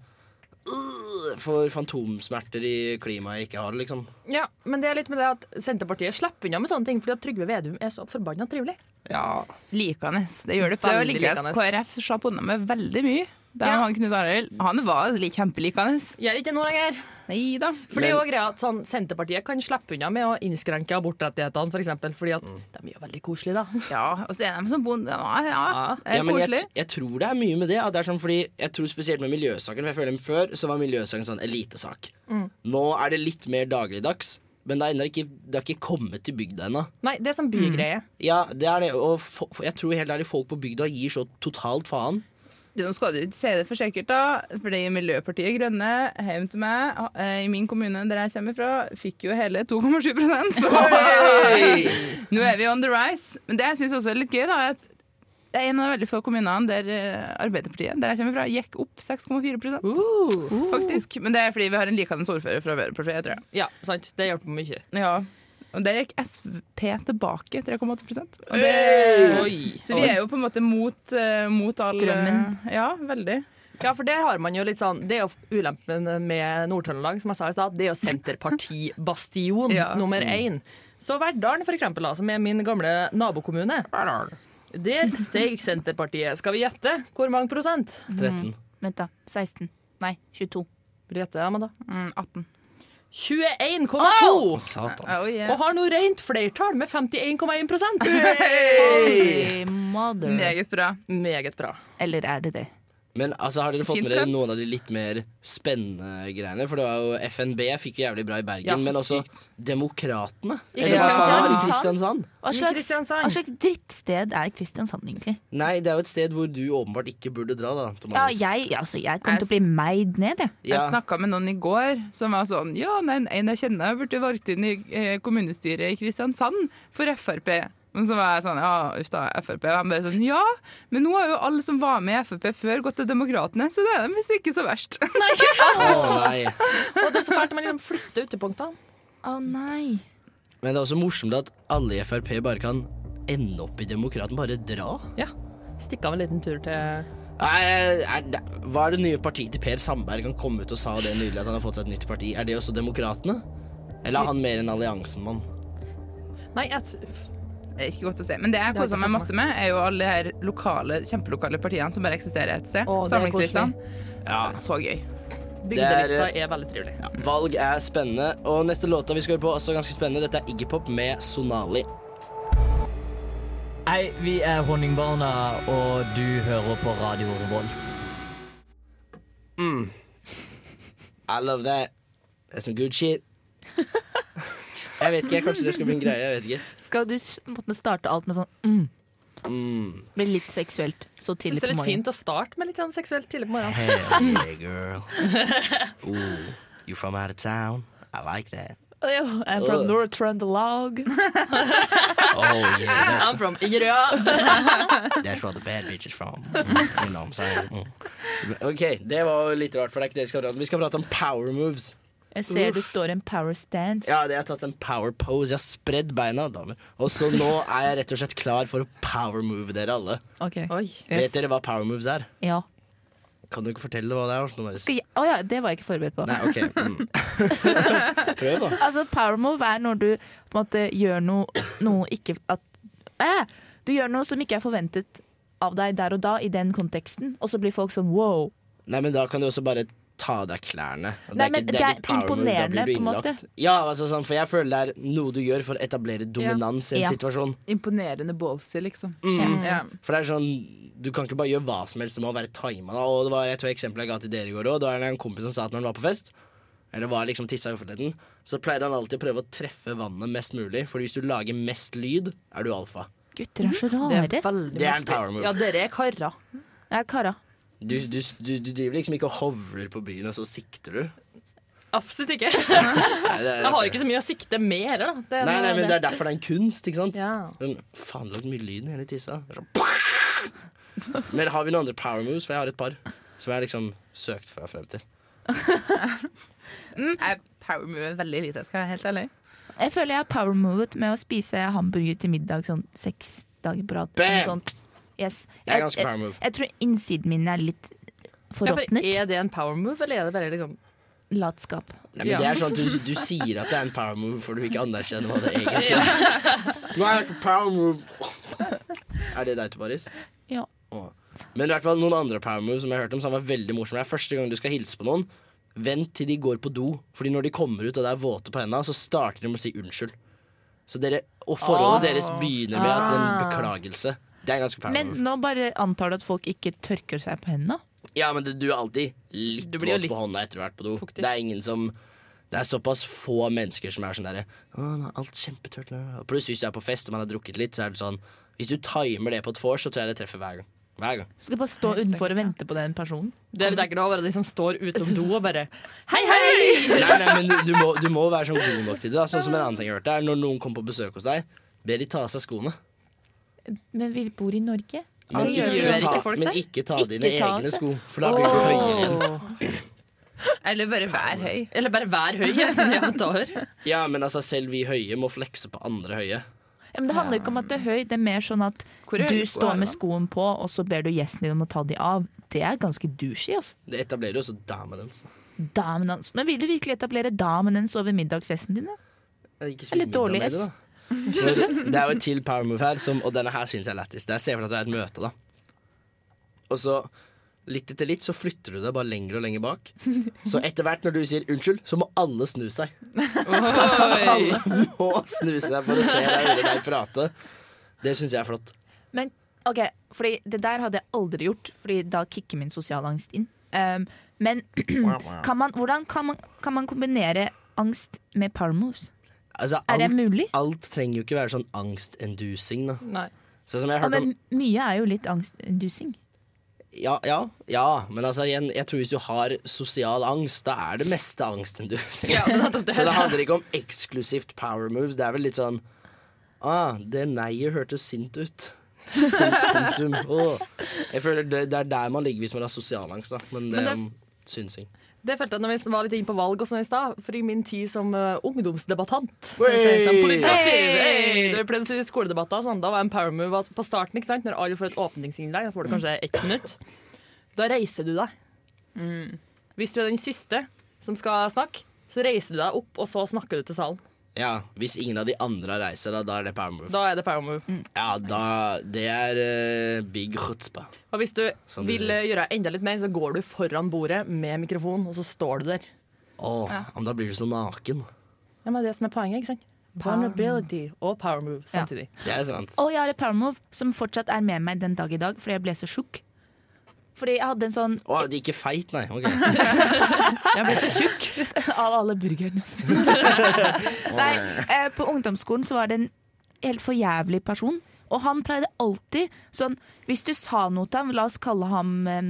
Speaker 2: øh, for fantomsmerter i klimaet jeg ikke har, liksom.
Speaker 5: Ja, men det er litt med det at Senterpartiet slipper unna med sånne ting fordi at Trygve Vedum er så forbanna trivelig.
Speaker 2: Ja.
Speaker 3: Likende. Det gjør det. For det var
Speaker 5: Veldig
Speaker 3: likende.
Speaker 5: likende.
Speaker 3: KrF slapp unna med veldig mye. Da
Speaker 5: Ja.
Speaker 3: han Knut Arild Han var li- kjempelikende.
Speaker 5: Gjør ikke noe lenger.
Speaker 3: Nei da.
Speaker 5: For det er jo også greia at sånn, Senterpartiet kan slippe unna med å innskrenke abortrettighetene, f.eks. eksempel fordi at de er jo veldig koselige, da.
Speaker 3: Ja, og så er de som bonde. Ja, ja. Det er
Speaker 2: Ja, men jeg,
Speaker 3: koselig.
Speaker 2: jeg tror det er mye med det. At det er sånn fordi jeg tror Spesielt med miljøsaken. For jeg føler Før så var miljøsaken sånn elitesak. Nå er det litt mer dagligdags, men det er ennå ikke, det har ikke kommet til bygda ennå.
Speaker 5: Nei, det er sånn bygreie.
Speaker 2: Ja, det er det. Og fo- jeg tror helt ærlig folk på bygda gir så totalt faen.
Speaker 3: Du, nå skal du ikke si det for sikkert, da. Fordi Miljøpartiet Grønne hjem til meg eh, i min kommune der jeg kommer fra, fikk jo hele 2,7 så Nå er vi on the rise. Men det jeg syns også er litt gøy, da, er at det er en av de veldig få kommunene der eh, Arbeiderpartiet, der jeg kommer fra, gikk opp 6,4
Speaker 5: Uh.
Speaker 3: faktisk. Men det er fordi vi har en likende ordfører fra Arbeiderpartiet, tror jeg.
Speaker 5: Ja, sant. Det hjelper mye.
Speaker 3: Ja. Og der gikk SP tilbake 3,8 og det,
Speaker 5: Oi.
Speaker 3: Så vi er jo på en måte mot, eh, mot all eh,
Speaker 4: Strømmen.
Speaker 3: Ja, veldig.
Speaker 5: Ja, for det har man jo litt sånn Det er jo ulempen med Nord-Trøndelag, som jeg sa i stad. Det er jo Senterparti-bastion
Speaker 3: Ja. Mm.
Speaker 5: nummer én. Så Verdalen, for eksempel, da, som er min gamle nabokommune, der steg Senterpartiet. Skal vi gjette hvor mange prosent?
Speaker 2: 13.
Speaker 4: Vent, da. 16. Nei, 22.
Speaker 5: Vil du gjette, Amanda?
Speaker 3: Mm, 18.
Speaker 5: 21,2!
Speaker 2: Satan.
Speaker 3: Oh, yeah.
Speaker 5: Og har nå rent flertall med 51,1 prosent.
Speaker 4: Holy mother.
Speaker 3: Meget bra.
Speaker 5: Meget bra.
Speaker 4: Eller er det det?
Speaker 2: Men altså, har dere fått
Speaker 3: Fint,
Speaker 2: med dere
Speaker 3: det.
Speaker 2: noen av de litt mer spennende greiene? For det var jo FNB fikk jo jævlig bra i Bergen,
Speaker 5: Ja,
Speaker 2: men også Demokratene.
Speaker 5: I
Speaker 2: Eller hva
Speaker 5: Kristiansand.
Speaker 2: faen, I Kristiansand.
Speaker 4: Hva
Speaker 5: I
Speaker 4: slags,
Speaker 5: Kristiansand.
Speaker 4: hva slags drittsted er Kristiansand, egentlig?
Speaker 2: Nei, det er jo et sted hvor du åpenbart ikke burde dra, da.
Speaker 4: Ja,
Speaker 2: Tobias.
Speaker 4: jeg, altså, jeg kommer til å bli meid ned, jeg.
Speaker 3: Jeg snakka med noen i går som var sånn Ja, nei, en jeg kjenner ble valgt inn i eh, kommunestyret i Kristiansand for Frp. Men så var jeg sånn Ja, uff da, Frp. Og han bare sånn Ja, men nå har jo alle som var med i Frp før, gått til Demokratene, så det er dem visst ikke så verst.
Speaker 2: Å, nei.
Speaker 5: Og det er så fælt at man liksom flytter utepunktene.
Speaker 4: Å nei.
Speaker 2: Men det er også morsomt at alle i Frp bare kan ende opp i Demokraten, bare dra.
Speaker 5: Ja. Stikke av en liten tur til
Speaker 2: Nei, er det, hva er det nye partiet til Per Sandberg? Han kom ut og sa det nylig, at han har fått seg et nytt parti. Er det også Demokratene? Eller er han mer en alliansen-mann?
Speaker 5: Nei, jeg
Speaker 3: Det er ikke godt å se. Men det jeg
Speaker 5: Det har
Speaker 3: koser
Speaker 5: ikke
Speaker 3: meg
Speaker 5: fått
Speaker 3: masse med, er jo alle de her lokale, kjempelokale partiene som bare eksisterer et sted.
Speaker 5: Å, det er
Speaker 3: Samlingslistene. Så gøy.
Speaker 5: Bygdelista er veldig trivelig.
Speaker 2: Valg er spennende, og neste låta vi skal høre på, er også ganske spennende. Dette er Iggy Pop med Sonali.
Speaker 6: Hei, vi er Honningbarna, og du hører på Radio Revolt.
Speaker 2: I love that. Det er some good shit. Jeg vet ikke, kanskje det skal bli en greie. jeg vet ikke
Speaker 4: Skal du s- måtte starte alt med sånn mm. Blir litt seksuelt så tidlig
Speaker 5: Jeg Mm. synes det
Speaker 4: på
Speaker 5: er litt
Speaker 4: morgenen.
Speaker 5: fint å starte med litt sånn seksuelt tidlig på morgenen.
Speaker 2: Hell yeah, girl. Ooh, you from out of town? I like that.
Speaker 4: Oh, I'm from North Trøndelag.
Speaker 2: Oh yeah,
Speaker 5: I'm from Inderøya.
Speaker 2: that's, that's where the bad bitch is from. Mm, you know what I'm saying? Mm. Ok, det var jo litt rart, for det er ikke det vi skal prate om. Vi skal prate om power moves.
Speaker 4: Jeg ser du står i en power stance.
Speaker 2: Ja, det jeg har tatt en power pose. Jeg har spredd beina, damer. Og så nå er jeg rett og slett klar for å power move dere alle.
Speaker 4: Ok.
Speaker 5: Oi.
Speaker 4: Yes.
Speaker 2: Vet dere hva power moves er?
Speaker 4: Ja.
Speaker 2: Kan du ikke fortelle hva det er? Åsne Marius?
Speaker 4: Skal jeg, å ja, det var jeg ikke forberedt på.
Speaker 2: Nei, ok. Mm. Prøv, da.
Speaker 4: Altså, power move er når du på en måte gjør noe, noe ikke at, eh, Du gjør noe som ikke er forventet av deg der og da, i den konteksten, og så blir folk sånn wow.
Speaker 2: Nei, men da kan du også bare ta av deg klærne. Og
Speaker 4: Nei, men det er
Speaker 2: power move, da blir
Speaker 4: imponerende,
Speaker 2: du
Speaker 4: på en måte.
Speaker 2: innlagt. Ja, altså, sånn, for jeg føler det er noe du gjør for å etablere dominans i en
Speaker 4: Ja.
Speaker 2: situasjon.
Speaker 3: Imponerende ballsy, liksom.
Speaker 2: Mm.
Speaker 3: Ja.
Speaker 2: For det er sånn, du kan ikke bare gjøre hva som helst, det må være timet. da. Og det var et eksempel jeg ga til dere i går òg. Det var en kompis som sa at når han var på fest, eller var liksom tissa i offentligheten, så pleide han alltid å prøve å treffe vannet mest mulig. For hvis du lager mest lyd, er du alfa.
Speaker 4: Gutter er så rare.
Speaker 5: veldig
Speaker 2: Det er en power move.
Speaker 5: Ja, dere er karer.
Speaker 4: Jeg er kara.
Speaker 2: Du, du, du, du driver liksom ikke og hovler på byen, og så sikter du.
Speaker 5: Absolutt ikke.
Speaker 2: Nei, det er-
Speaker 5: Jeg har ikke så mye å sikte med heller, da. Det er-
Speaker 2: Nei, nei, men det er derfor det er en kunst, ikke sant?
Speaker 5: Ja.
Speaker 2: Sånn, Faen, det lagde mye lyd i hele tissa. Det er sånn, Men har vi noen andre power moves? For jeg har et par. Som jeg liksom søkte fra frem til.
Speaker 3: Jeg powermover veldig lite, skal jeg være helt ærlig.
Speaker 4: Jeg føler jeg har power movet med å spise hamburger til middag sånn seks dager på rad.
Speaker 2: Bam!
Speaker 4: eller Sånt. Yes.
Speaker 2: Det er
Speaker 4: Jeg,
Speaker 2: ganske
Speaker 4: jeg,
Speaker 2: power move.
Speaker 4: jeg tror innsiden min er litt
Speaker 5: Ja, for
Speaker 4: forråtnet.
Speaker 5: er det en power move, eller er det bare liksom
Speaker 4: Latskap.
Speaker 2: Nei, men
Speaker 5: Ja.
Speaker 2: det er sånn at du, du sier at det er en power move, for du ikke anerkjenner hva det egentlig er. Nå har jeg hørt på power move. Er det deg til Paris?
Speaker 4: Ja.
Speaker 2: Åh. Men i hvert fall noen andre power moves som jeg har hørt om, som var veldig morsomme. Det er første gang du skal hilse på noen. Vent til de går på do, Fordi når de kommer ut og det er våte på hendene, så starter de med å si unnskyld. Så dere, og forholdet
Speaker 5: Ah.
Speaker 2: deres begynner med at en beklagelse. Det er ganske power
Speaker 4: Men
Speaker 2: move.
Speaker 4: nå bare antar du at folk ikke tørker seg på hendene.
Speaker 2: Ja, men det, du er alltid litt
Speaker 5: Du
Speaker 2: våt
Speaker 5: blir jo litt
Speaker 2: på hånda etter å ha vært på do.
Speaker 5: fuktig.
Speaker 2: Det er ingen som det er såpass få mennesker som er sånn derre «Å, nå er Alt kjempetørt. nå». Og Pluss hvis du er på fest og man har drukket litt, så er det sånn Hvis du timer det på et vors, så tror jeg det treffer hver gang. Hver gang.
Speaker 4: Skal bare stå utenfor og vente på den personen.
Speaker 5: Det er litt ekkelt å være de som står utom do og bare Sånn- Hei, hei!
Speaker 2: Nei, nei, men du, du, må, du må være sånn god nok til det. Da. Sånn som en annen ting jeg har hørt er Når noen kommer på besøk hos deg, be de ta av seg skoene.
Speaker 4: Men vi bor i Norge.
Speaker 2: Men
Speaker 5: Det
Speaker 2: ikke,
Speaker 5: gjør jo
Speaker 2: ta,
Speaker 5: ikke folk
Speaker 2: men
Speaker 5: det.
Speaker 2: ikke ta
Speaker 4: Ikke
Speaker 2: dine
Speaker 4: ta av
Speaker 2: egne
Speaker 4: seg.
Speaker 2: sko, for da blir du høyere enn
Speaker 3: Eller bare vær høy.
Speaker 5: Eller bare vær høy, som jeg måtte høre.
Speaker 2: Ja, men altså, selv vi høye må flekse på andre høye.
Speaker 4: Ja, men det handler ikke om at du er høy, det er mer sånn at
Speaker 3: Hvor er
Speaker 4: du
Speaker 3: de skoene,
Speaker 4: står med
Speaker 3: da?
Speaker 4: skoen på, og så ber du gjesten din om å ta de av. Det er ganske douchey, altså.
Speaker 2: Det etablerer jo også dominance.
Speaker 4: Dominance. Men vil du virkelig etablere dominance over middagsgjesten din? da?
Speaker 2: Ikke
Speaker 4: Eller dårlig
Speaker 2: middag med det, da. Men Det er jo et til power move her, som, og denne her syns jeg er lættis. Det er- Se for deg at du er i et møte, da. Og så litt etter litt så flytter du deg bare lenger og lenger bak. Så etter hvert når du sier unnskyld, så må alle snu seg. Alle må snu seg for å se deg høre deg prate. Det syns jeg er flott.
Speaker 4: Men ok, fordi det der hadde jeg aldri gjort, fordi da kicker min sosiale angst inn. Um, men kan man, hvordan kan man, kan man kombinere angst med power moves?
Speaker 2: Altså,
Speaker 4: Er det
Speaker 2: alt,
Speaker 4: mulig?
Speaker 2: alt trenger jo ikke være sånn angstenducing, da.
Speaker 5: Nei.
Speaker 2: Sånn som jeg
Speaker 4: Ja,
Speaker 2: har hørt om
Speaker 4: men mye er jo litt angstindusing.
Speaker 2: Ja, ja, ja, men altså igjen, jeg tror hvis du har sosial angst, da er det meste angsten du ser. Så det handler ikke om eksklusivt power moves. Det er vel litt sånn ah, Det neiet hørtes sint ut. Punktum. Åh. Jeg føler det, det er der man ligger hvis man har sosial angst, da. Men det
Speaker 5: Men det er
Speaker 2: er om synsing.
Speaker 5: Det følte jeg når vi var litt inne på valg og sånn i stad, for i min tid som eh, ungdomsdebattant
Speaker 2: Hey!
Speaker 5: som Politiaktiv! sånn, Hey! Da vi pleide å si skoledebatter, sånn, da var en power move at på starten, ikke sant, når alle får et åpningsinnlegg,
Speaker 2: Mm.
Speaker 5: da får du kanskje ett minutt. Da reiser du deg. Mm. Hvis du er den siste som skal snakke, så reiser du deg opp, og så snakker du til salen.
Speaker 2: Ja, Hvis ingen av de andre reiser, da, da er det power move.
Speaker 5: Da er det power move.
Speaker 2: Ja, da, Det er eh, big chutzpah.
Speaker 5: Og hvis du
Speaker 2: Som du
Speaker 5: vil
Speaker 2: sier.
Speaker 5: eh, gjøre enda litt mer, så går du foran bordet med mikrofon, og så står du der.
Speaker 2: Åh, Men da blir du så naken.
Speaker 5: Ja, men det er det som er poenget, ikke sant? Vulnerability og power move samtidig.
Speaker 2: Det er sant.
Speaker 4: Og jeg har et power move som fortsatt er med meg den dag i dag, fordi jeg ble så tjukk. Fordi jeg hadde en sånn
Speaker 2: Å, det er ikke feit, nei. Ok.
Speaker 5: Jeg blir så tjukk.
Speaker 4: av alle burgerne. jeg spiste. Nei, eh, på ungdomsskolen så var det en helt forjævlig person. Og han pleide alltid sånn Hvis du sa noe til ham, la oss kalle ham em,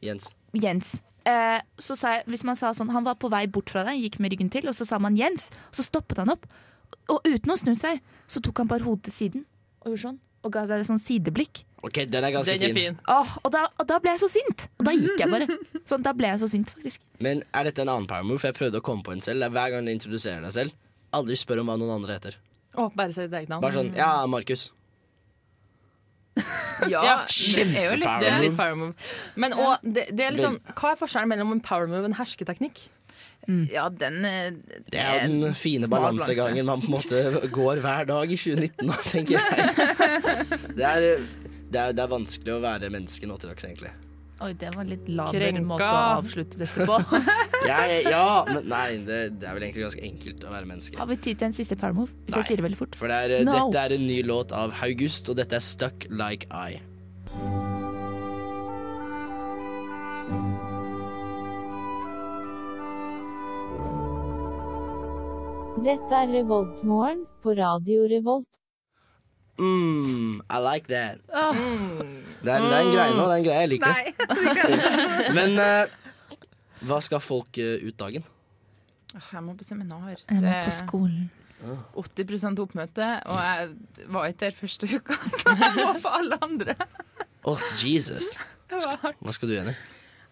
Speaker 2: Jens.
Speaker 4: Jens. Eh, så sa jeg, hvis man sa sånn, Han var på vei bort fra deg, gikk med ryggen til, og så sa man Jens. Og så stoppet han opp. Og uten å snu seg, så tok han bare hodet til siden og gjorde sånn. Og ga deg et sånn sideblikk.
Speaker 2: Ok, den er ganske
Speaker 5: Den er
Speaker 2: fin.
Speaker 5: fin.
Speaker 4: Åh, og, da, og da ble jeg så sint! Og da gikk jeg bare. Sånn, da ble jeg så sint, faktisk.
Speaker 2: Men er dette en annen power move? For Jeg prøvde å komme på en selv. Det er Hver gang du introduserer deg selv, aldri spør om hva noen andre heter.
Speaker 5: Å, bare si ditt eget navn.
Speaker 2: Bare sånn Ja, Markus.
Speaker 3: Ja, det er jo litt
Speaker 5: Det er
Speaker 2: Power
Speaker 5: litt
Speaker 2: move.
Speaker 5: power move. Men og, det, det er litt sånn, hva er forskjellen mellom en power move og en hersketeknikk?
Speaker 3: Ja, den eh,
Speaker 2: Det er jo den fine
Speaker 3: smal balanse.
Speaker 2: balansegangen man på en måte går hver dag i 2019, da, tenker jeg. Det er, det er, det er vanskelig å være menneske nå til dags, egentlig.
Speaker 4: Oi, det var litt laber
Speaker 5: Krenka.
Speaker 4: måte å avslutte dette på.
Speaker 2: Jeg, ja, men nei, det, det er vel egentlig ganske enkelt å være menneske.
Speaker 4: Har vi tid til en siste permov? Hvis
Speaker 2: Nei.
Speaker 4: jeg sier det veldig fort.
Speaker 2: For det er, eh,
Speaker 4: No.
Speaker 2: dette er en ny låt av Haugust, og dette er Stuck Like I.
Speaker 7: Dette er Revoltmorgen på Radio Revolt.
Speaker 2: Mm, I like that. Mm. Det, er, det er en greie nå, det er en greie jeg liker. Men eh, hva skal folk eh, ut dagen?
Speaker 3: Åh, Jeg må på seminar.
Speaker 4: Jeg må Eh, på
Speaker 3: Det
Speaker 4: skolen.
Speaker 3: er 80 oppmøte, og jeg var ikke der første uka, så jeg var på alle andre.
Speaker 2: Åh, Jesus.
Speaker 3: Det var hardt.
Speaker 2: Hva skal du, Jenny?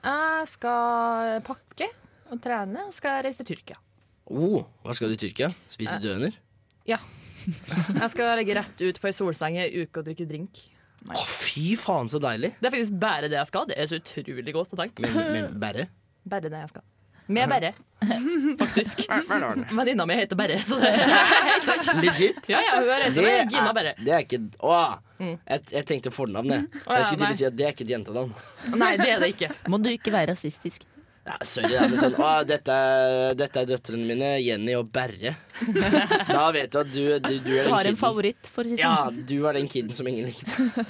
Speaker 5: Jeg skal pakke og trene, og skal reise til Tyrkia.
Speaker 2: Oh, hva skal du i Tyrkia? Spise døner?
Speaker 5: Jeg skal legge rett ut på ei solseng i ei uke og drikke drink.
Speaker 2: Å, fy faen, så deilig.
Speaker 5: Det er faktisk bare det jeg skal. Det er så utrolig godt å tenke.
Speaker 2: Men, men bære?
Speaker 5: Bare det jeg skal. Med Berre, faktisk. Venninna mi heter Berre, så det
Speaker 2: Legit?
Speaker 5: Ja, ja, hun er reist med Gina Berre.
Speaker 2: det er ikke Åh! Jeg, jeg tenkte fornavn, jeg. For jeg
Speaker 5: ja,
Speaker 2: skulle
Speaker 5: nei.
Speaker 2: til å si at det er ikke et jentenavn.
Speaker 5: Nei, det er det ikke.
Speaker 4: Må du ikke være rasistisk.
Speaker 2: Ja, sorry, da, men sånn, å, dette, er, dette er døtrene mine, Jenny og Berre. Da vet du at du, du, du er den
Speaker 4: Du har en
Speaker 2: kiden.
Speaker 4: favoritt, for å si det
Speaker 2: Ja,
Speaker 4: sånn.
Speaker 2: du er den kiden som ingen likte.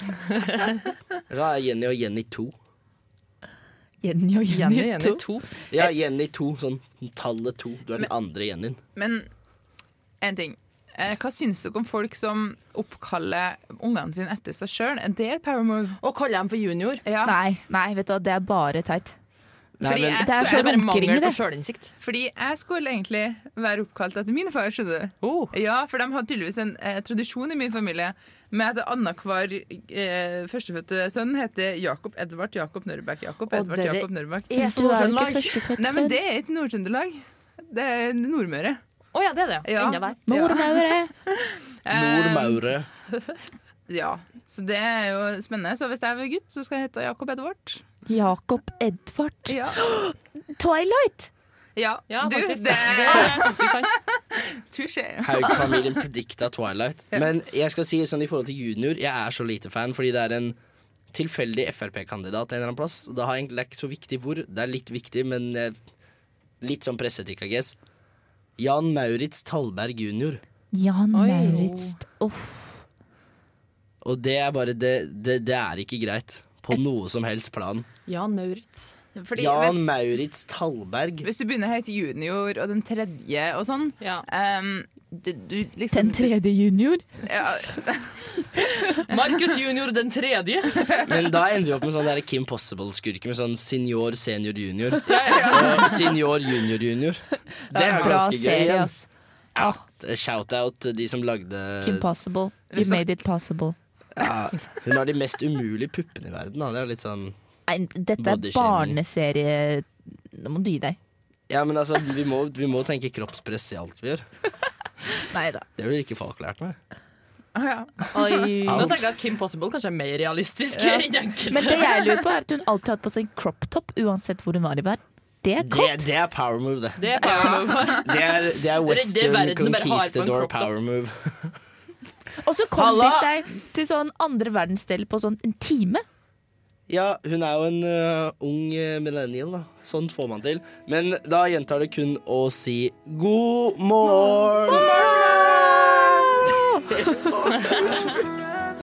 Speaker 2: Da er Jenny og Jenny 2.
Speaker 4: Jenny og Jenny,
Speaker 5: Jenny, Jenny
Speaker 4: to.
Speaker 5: to.
Speaker 2: Ja,
Speaker 4: Eh,
Speaker 2: Jenny 2, sånn tallet 2. Du er den andre Jennyen.
Speaker 3: Men en ting. Eh, Hva syns dere om folk som oppkaller ungene sine etter seg sjøl? Det er Paramore.
Speaker 5: Og kaller dem for junior.
Speaker 3: Ja,
Speaker 4: Nei, nei, vet du hva, det er bare teit.
Speaker 2: Nei,
Speaker 3: fordi,
Speaker 2: men
Speaker 4: Det
Speaker 3: jeg
Speaker 4: er
Speaker 5: Det er
Speaker 3: skulle,
Speaker 5: bare
Speaker 4: Runkering med
Speaker 5: mangel på
Speaker 4: det.
Speaker 5: sjølinnsikt.
Speaker 3: fordi jeg skulle egentlig være oppkalt etter min far, skjønner du.
Speaker 5: Oh.
Speaker 3: Ja, for de har tydeligvis en eh, tradisjon i min familie med at annenhver eh, førstefødte sønn heter Jakob Edvard Jakob Nørbæk Jakob
Speaker 5: Og
Speaker 3: Edvard
Speaker 5: dere-
Speaker 3: Jakob Nørbæk.
Speaker 5: Jeg er
Speaker 4: Du er
Speaker 5: så
Speaker 4: jo
Speaker 5: Nord-Trøndelag.
Speaker 4: ikke førstefødt
Speaker 3: Nei, men
Speaker 4: sønn.
Speaker 3: det er ikke Nord-Trøndelag. Det er Nordmøre.
Speaker 5: Å ja, det er det.
Speaker 3: Ja.
Speaker 5: Enda verre.
Speaker 4: Mor,
Speaker 3: Ja.
Speaker 4: hva gjør jeg? Eh,
Speaker 2: Nordmaure.
Speaker 3: ja. Så det er jo spennende. Så hvis jeg er gutt, så skal jeg hete Jakob Edvard.
Speaker 4: Jakob Edvard.
Speaker 3: Ja.
Speaker 4: Twilight!
Speaker 3: ja.
Speaker 5: Ja,
Speaker 3: du,
Speaker 5: faktisk.
Speaker 3: det
Speaker 5: Det
Speaker 3: er
Speaker 5: er faktisk sant.
Speaker 3: touché.
Speaker 2: Haug-familien predikta Twilight. Men jeg skal si sånn i forhold til junior, jeg er så lite fan fordi det er en tilfeldig Frp-kandidat en eller annen plass. Da har jeg egentlig det er ikke så viktig hvor. Det er litt viktig, men eh, litt sånn pressetikk, I guess. Jan Maurits Tallberg jr.
Speaker 4: Jan
Speaker 5: Oi.
Speaker 4: Maurits. Uff.
Speaker 2: Og det er bare det, det, det er ikke greit. På noe som helst plan.
Speaker 5: Jan Maurits.
Speaker 3: Fordi
Speaker 2: Jan
Speaker 3: hvis,
Speaker 2: Maurits Tallberg.
Speaker 3: hvis du begynner å hete junior og den tredje og sånn
Speaker 5: Ja.
Speaker 3: ehm, du, du liksom
Speaker 4: Den tredje junior.
Speaker 3: Ja,
Speaker 5: Markus junior den tredje.
Speaker 2: Men da ender vi opp med sånn der Kim Possible-skurke med sånn senior, senior, junior. Og senior, junior, junior. Det er
Speaker 4: Bra
Speaker 2: ganske gøy.
Speaker 4: serie, altså.
Speaker 2: igjen.
Speaker 4: ass. Ja.
Speaker 2: eh, Shout-out til de som lagde
Speaker 4: Kim Possible. You made it possible.
Speaker 2: ja, Hun har de mest umulige puppene i verden. Da. Det er litt sånn
Speaker 4: Nei, dette er
Speaker 2: Body shaming.
Speaker 4: barneserie... Nå må du gi deg.
Speaker 2: Ja, men altså, vi må, vi må tenke kroppspress i alt vi gjør.
Speaker 4: Nei da.
Speaker 2: Det ville ikke folk lært meg.
Speaker 4: Oi.
Speaker 5: Nå tenker jeg at Kim Possible kanskje er mer realistisk enn enkelte.
Speaker 4: Men det jeg lurer på, er at hun alltid har hatt på seg en crop top uansett hvor hun var i verden. Det er
Speaker 2: Det,
Speaker 4: godt.
Speaker 2: det er power move, det.
Speaker 5: Det er bare noe.
Speaker 2: Det er, det er
Speaker 5: Redde
Speaker 2: western
Speaker 5: verden, bare har på en
Speaker 2: conquistador
Speaker 5: kropp, da.
Speaker 2: power move.
Speaker 4: Og så kom de seg til sånn andre verdensdel på sånn en time.
Speaker 2: Ja, hun er jo en ø, ung ø, millennial, da. Sånn får man til. Men da gjentar det kun å si god morgen!